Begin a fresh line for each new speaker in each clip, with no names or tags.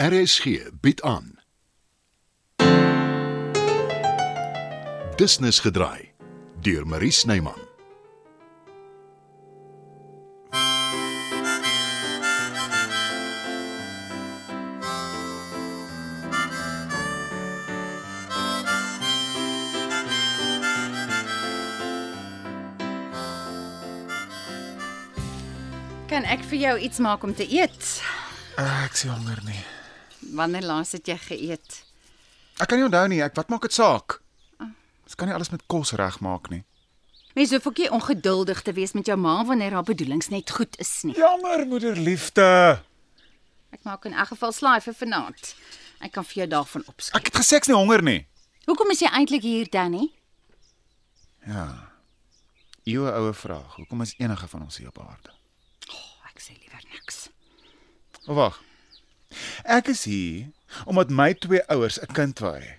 RSG bied aan. Business gedraai deur Marie Snyman.
Kan ek vir jou iets maak om te eet?
Ek sien honger nie.
Wanneer laas het jy geëet?
Ek kan nie onthou nie, ek wat maak dit saak? Ons kan nie alles met kos regmaak nie.
Mens hoef ook nie ongeduldig te wees met jou ma wanneer haar bedoelings net goed is nie.
Jammer moederliefde.
Ek maak in elk geval slaai vir vanaand. Ek kan vir jou daarvan opskryf.
Ek het gesê ek's nie honger nie.
Hoekom is jy eintlik hier, Danny?
Ja. Eeue oue vraag. Hoekom is enige van ons hier op aarde?
Oh, ek sê liewer niks.
O wag. Ek is hier omdat my twee ouers 'n kind wou hê.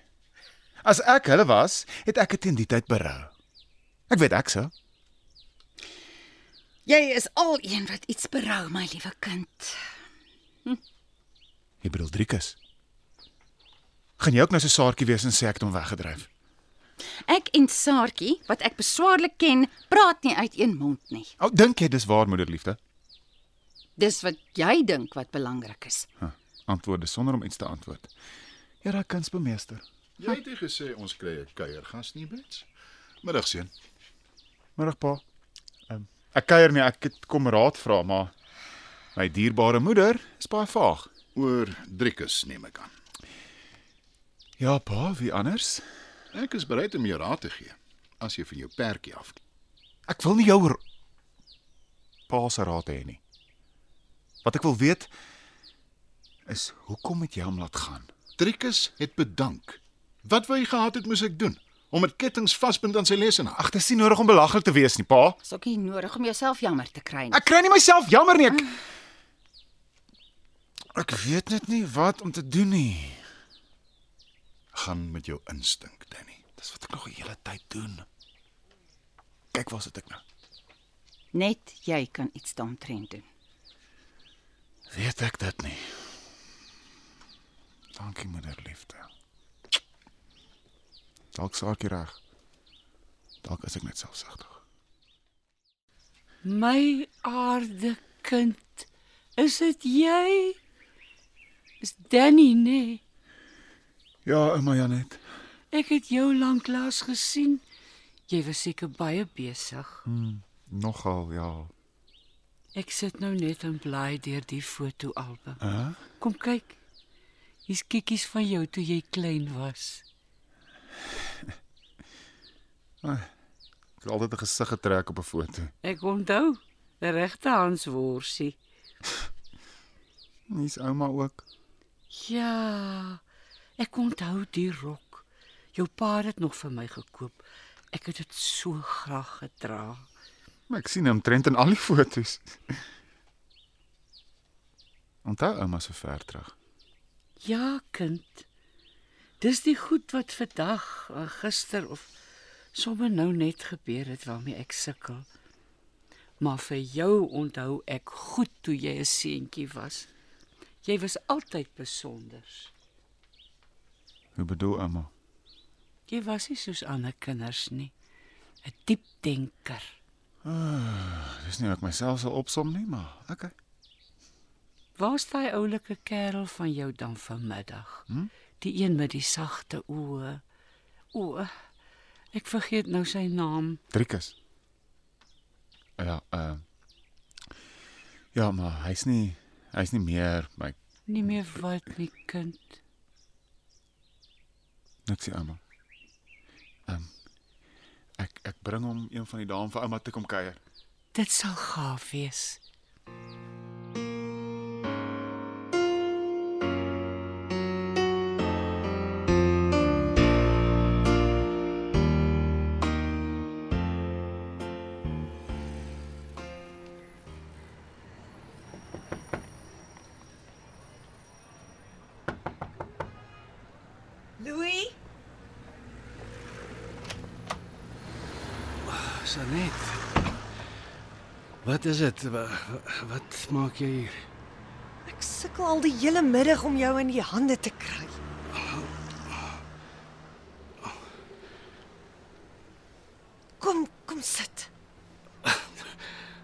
As ek hulle was, het ek dit teen die tyd berou. Ek weet ek sou.
Jy is al een wat iets berou, my liewe kind.
Jy bedoel Driekus. Gaan jy ook nou so saartjie wees en sê ek het hom weggedryf?
Ek en Saartjie, wat ek beswaarlik ken, praat nie uit een mond nie.
Ou dink jy dis waar moederliefde?
Dis wat jy dink wat belangrik is.
Huh, antwoorde sonder om iets te antwoord. Ja, daai kunsbemeester.
Jy het gesê ons kry 'n kuiergas nie, Brits. Middagseën.
Middag pa. Um, ek kuier nie, ek het kom raad vra, maar my dierbare moeder is baie vaag.
Oor Driekus neem ek aan.
Ja pa, wie anders?
Ek is bereid om jou raad te gee as jy van jou perdjie af.
Ek wil nie jou r- pa se raad hê nie. Wat ek wil weet is hoekom het jy hom laat gaan?
Driekus het bedank. Wat wou hy gehad het moes ek doen? Om met kettinge vasbind aan sy lesenaar.
Ag, dis nie nodig om belaglik te wees nie, pa.
Dis ook nie nodig om jouself jammer te kry nie.
Ek kry nie myself jammer nie. Ek Ek weet net nie wat om te doen nie.
Gaan met jou instink, Danny.
Dis wat ek nog die hele tyd doen. Kyk waar sit ek nou.
Net jy kan iets daaroor doen.
Weet ek dit nie. Dankie moederliefde. Dalk saak jy reg. Dalk is ek net selfsugtig.
My aarde kind, is dit jy? Nee. Is Danny nee?
Ja, ouma Janet.
Ek het jou lanklaas gesien. Jy was seker baie besig.
Nogal ja.
Ek sit nou net en blaai deur die fotoalbum.
Hæ? Huh?
Kom kyk. Hier's kikkies van jou toe jy klein was.
Ek het altyd 'n gesig getrek op 'n foto.
Ek onthou, 'n regte handsworsie.
Hier's ouma ook.
Ja. Ek onthou die rok. Jou pa het dit nog vir my gekoop. Ek het dit so graag gedra.
Maar ek sien hom trend in al die fotos. Onthou ouma se ver terug.
Ja, kind. Dis die goed wat vandag, eh, gister of sommer nou net gebeur het waarmee ek sukkel. Maar vir jou onthou ek goed toe jy 'n seentjie was. Jy was altyd besonder.
Hoe bedoel ouma?
Jy was nie soos ander kinders nie. 'n Diep denker.
Dis nie hoe ek myself sal opsom nie, maar okay.
Waar's daai oulike kerel van jou dan vanmiddag? Hm? Die een met die sagte oë. O, ek vergeet nou sy naam.
Driekus. Ja, ehm uh, Ja, maar hy's nie hy's nie meer my
Nie meer wat nie kind.
niks nie ouma. Ehm um, ek ek bring hom een van die dae om vir ouma te kom kuier.
Dit sal gaaf wees.
Louis,
Sanet. Wat is dit? Wat, wat maak jy hier?
ek Ek sukkel al die hele middag om jou in die hande te kry. Kom, kom sit.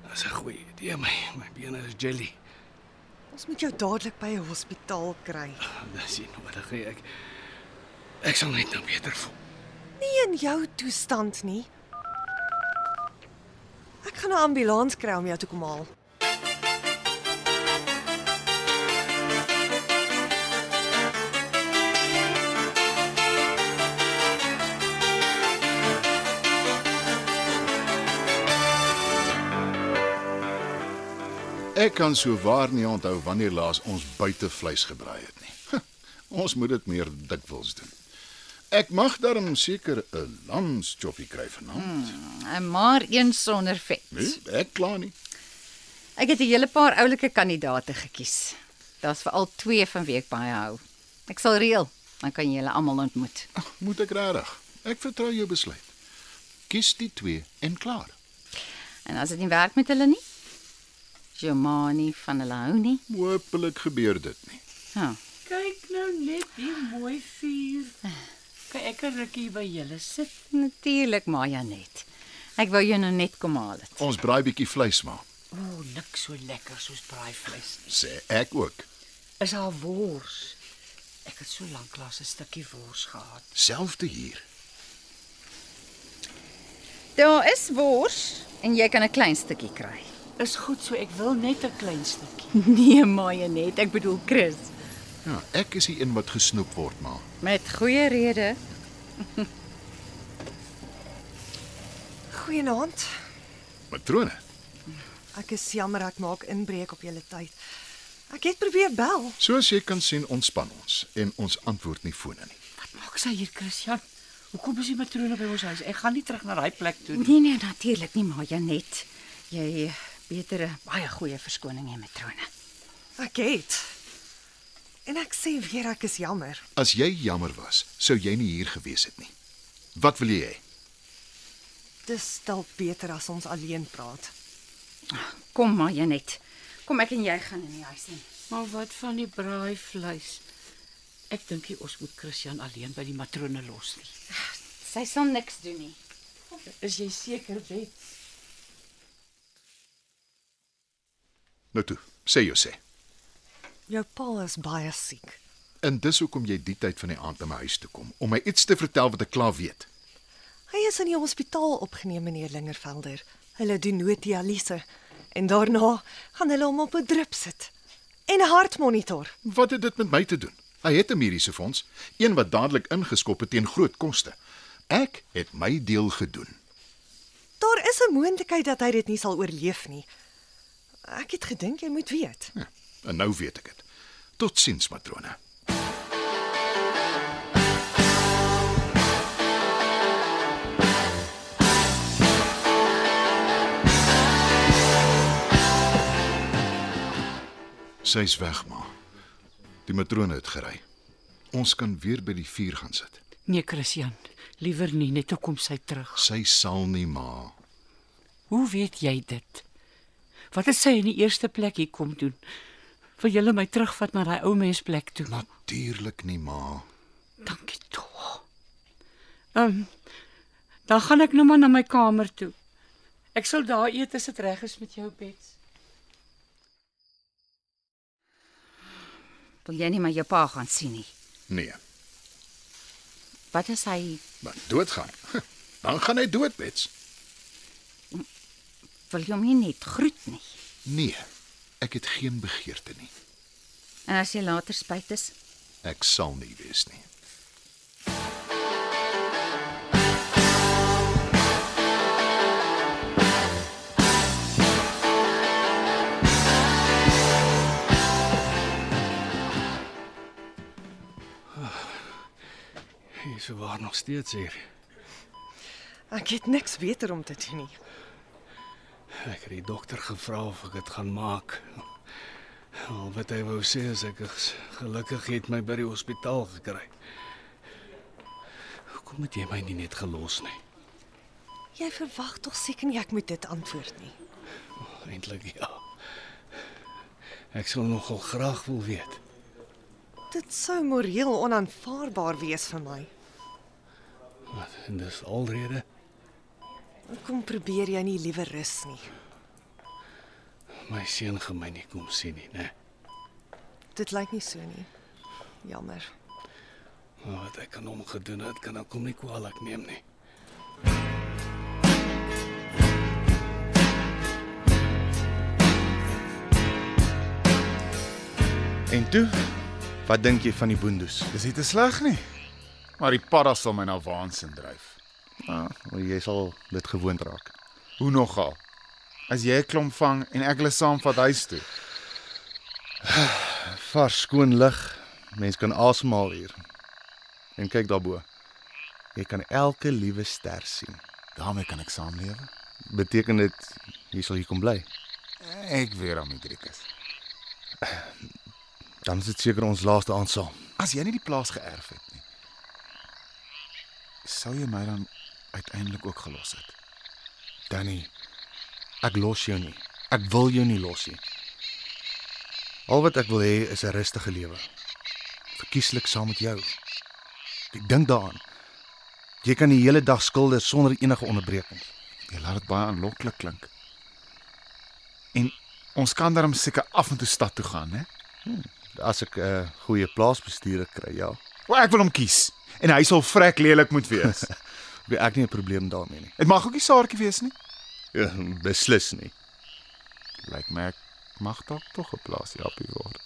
Dis 'n goeie idee my, my bene is jelly.
Ons moet jou dadelik by 'n hospitaal kry.
Dis nie nodig nie. Ek ek sal net nou beter voel.
Nie in jou toestand nie. Ek gaan 'n ambulans kry om jou toe kom haal.
Ek kan sou waar nie onthou wanneer laas ons buite vleis gebraai het nie. ons moet dit meer dikwels doen. Ek mag darm seker 'n lamschoppie kry vanaand.
En maar een sonder vet.
Nee, ek kla nie.
Ek het 'n hele paar oulike kandidate gekies. Daar's veral twee van wie ek baie hou. Ek sal reël, dan kan jy hulle almal ontmoet.
Ag, moet ek regtig? Ek vertrou jou besluit. Kies die twee en klaar.
En as dit nie werk met hulle nie, is jou ma nie van hulle hou nie.
Hoopelik gebeur dit nie.
Ja.
Kyk nou net die mooi vuur. Kan ek 'n rukkie by julle sit?
Natuurlik, maar Janet. Ek wou jou nou net kom haal het.
Ons braai bietjie vleis maar,
O, niks so lekker soos braaivleis nie.
sê ek ook.
Is haar wors. Ek het so lank lank 'n stukkie wors gehad.
Selfde hier.
Daar is wors en jy kan 'n klein stukkie kry.
Is goed, so ek wil net 'n klein stukkie.
Nee, maar Janet, ek bedoel Chris.
Ja, ek is die een wat gesnoep word maar.
Met goeie rede.
Goeienaand.
Matrone,
Ek is jammer ek maak inbreuk op julle tyd. Ek het probeer bel.
soos jy kan sien, ontspan ons en ons antwoord nie fone nie.
Wat maak sy hier, Christian? Hoekom is die matrone by ons huis? Ek gaan nie terug na daai plek toe nie.
Nee nee, natuurlik nie, maar Janet, jy beter 'n baie goeie verskoning hê, matrone.
Ek het. En ek sê weer ek is jammer.
As jy jammer was, sou jy nie hier gewees het nie. Wat wil jy hê?
Dis dalk beter as ons alleen praat.
Kom maar, Janet. Kom ek en jy gaan in die huis in.
Maar wat van die braaivleis? Ek dink nie ons moet Christian alleen by die matrone los nie.
Sy sal niks doen nie.
Is jy seker, Bet?
Nou toe, sê jou sê.
Jou pa is baie siek.
En dis hoekom jy die tyd van die aand na my huis toe kom om my iets te vertel wat ek klaar weet.
Hy is in die hospitaal opgeneem meneer Lingervelder. Hulle doen nooddialyse en daarna gaan hulle hom op 'n drip sit en 'n hartmonitor.
Wat het dit met my te doen? Hy het 'n mediese fonds, een wat dadelik ingeskop het teen groot koste. Ek het my deel gedoen.
Daar is 'n moontlikheid dat hy dit nie sal oorleef nie. Ek het gedink jy moet weet.
Ja, en nou weet ek dit. Totsiens, matrone. Sy's weg, ma. Die matrone het gery. Ons kan weer by die vuur gaan sit.
Nee, Christian, liewer nie, net hoekom sy terug.
Sy sal nie, ma.
Hoe weet jy dit? Wat het sy in die eerste plek hier kom doen? Wil jy my terugvat na daai ou mens plek toe?
Natuurlik nie, ma.
Dankie tog. Ehm um, dan gaan ek nou maar na my kamer toe. Ek sal daar eet as dit reg is met jou, Bets.
Wil jy nie maar jou pa gaan sien nie?
Nee,
Wat as hy
maar doodgaan. Dan gaan hy dood, Bets.
wil jy hom nie net groet nie?
Nee, ek het geen begeerte nie.
En as jy later spyt is,
Ek sal nie wees nie.
Hier sou waar nog steeds hier.
Ek het niks beter om te doen nie.
Ek het die dokter gevra of ek dit gaan maak. Al wat hy wou sê is ek is gelukkig hy het my by die hospitaal gekry. Hoekom het jy my nie net gelos nie?
Jy verwag tog seker nie ek moet dit antwoord nie.
Eintlik ja. Ek sal nogal graag wil weet.
Dit sou moreel onaanvaarbaar wees vir my.
Wat en dis alrede
Hoekom probeer jy nie liewer rus nie?
my seun gaan my nie kom sien nie, né?
Dit lyk nie so nie. Jammer.
Maar wat ek aan hom gedoen het, kan ek hom nie kwaadlik neem nie.
En toe, wat dink jy van die boondoes? Dis nie te sleg nie. Maar die padda sal my na waansin dryf.
Ja,
Ah, maar jy sal dit gewoond raak. Hoe nogal? As jy 'n klomp vang en ek hulle saamvat huis toe.
Vars skoon lug. Mens kan asemhaal hier. En kyk daarbo. Jy kan elke liewe ster sien.
Daarmee kan ek saamlewe.
Beteken dit jy sal hier kom bly?
Ek weer aan Midrikus.
Dan is dit seker ons laaste aand saam.
As jy nie die plaas geërf het nie, sou jy my dan uiteindelik ook gelos het.
Danny, ek los jou nie. Ek wil jou nie los nie. Al wat ek wil hê is 'n rustige lewe. Verkieslik saam met jou. Ek dink daaraan. Jy kan die hele dag skilder sonder enige onderbrekings.
Jy laat dit baie aanloklik klink. En ons kan darm seker af en toe stad toe gaan, hè?
As ek 'n uh, goeie plaasbestuurder kry, ja.
O, ek wil hom kies. En hy sal vrek lelik moet wees.
Ek het nie 'n probleem daarmee nie.
Dit mag ook nie saartjie wees nie.
Ja, beslis nie.
Lyk my ek mag dalk tog 'n plaas jappie word.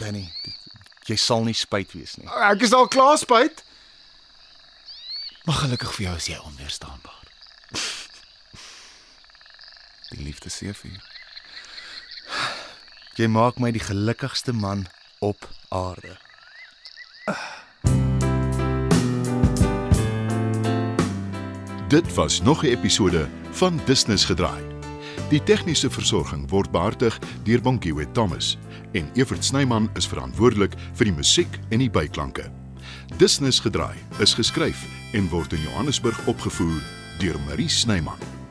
Danny, jy sal nie spyt wees nie.
Ek is al klaar spyt.
Maar gelukkig vir jou is jy onweerstaanbaar. Die liefde seefuur.
Jy maak my die gelukkigste man op aarde.
Dit was nog 'n episode van Business Gedraai. Die tegniese versorging word behartig deur Bonnie Witt Thomas en Evert Snyman is verantwoordelik vir die musiek en die byklanke. Business Gedraai is geskryf en word in Johannesburg opgevoer deur Marie Snyman.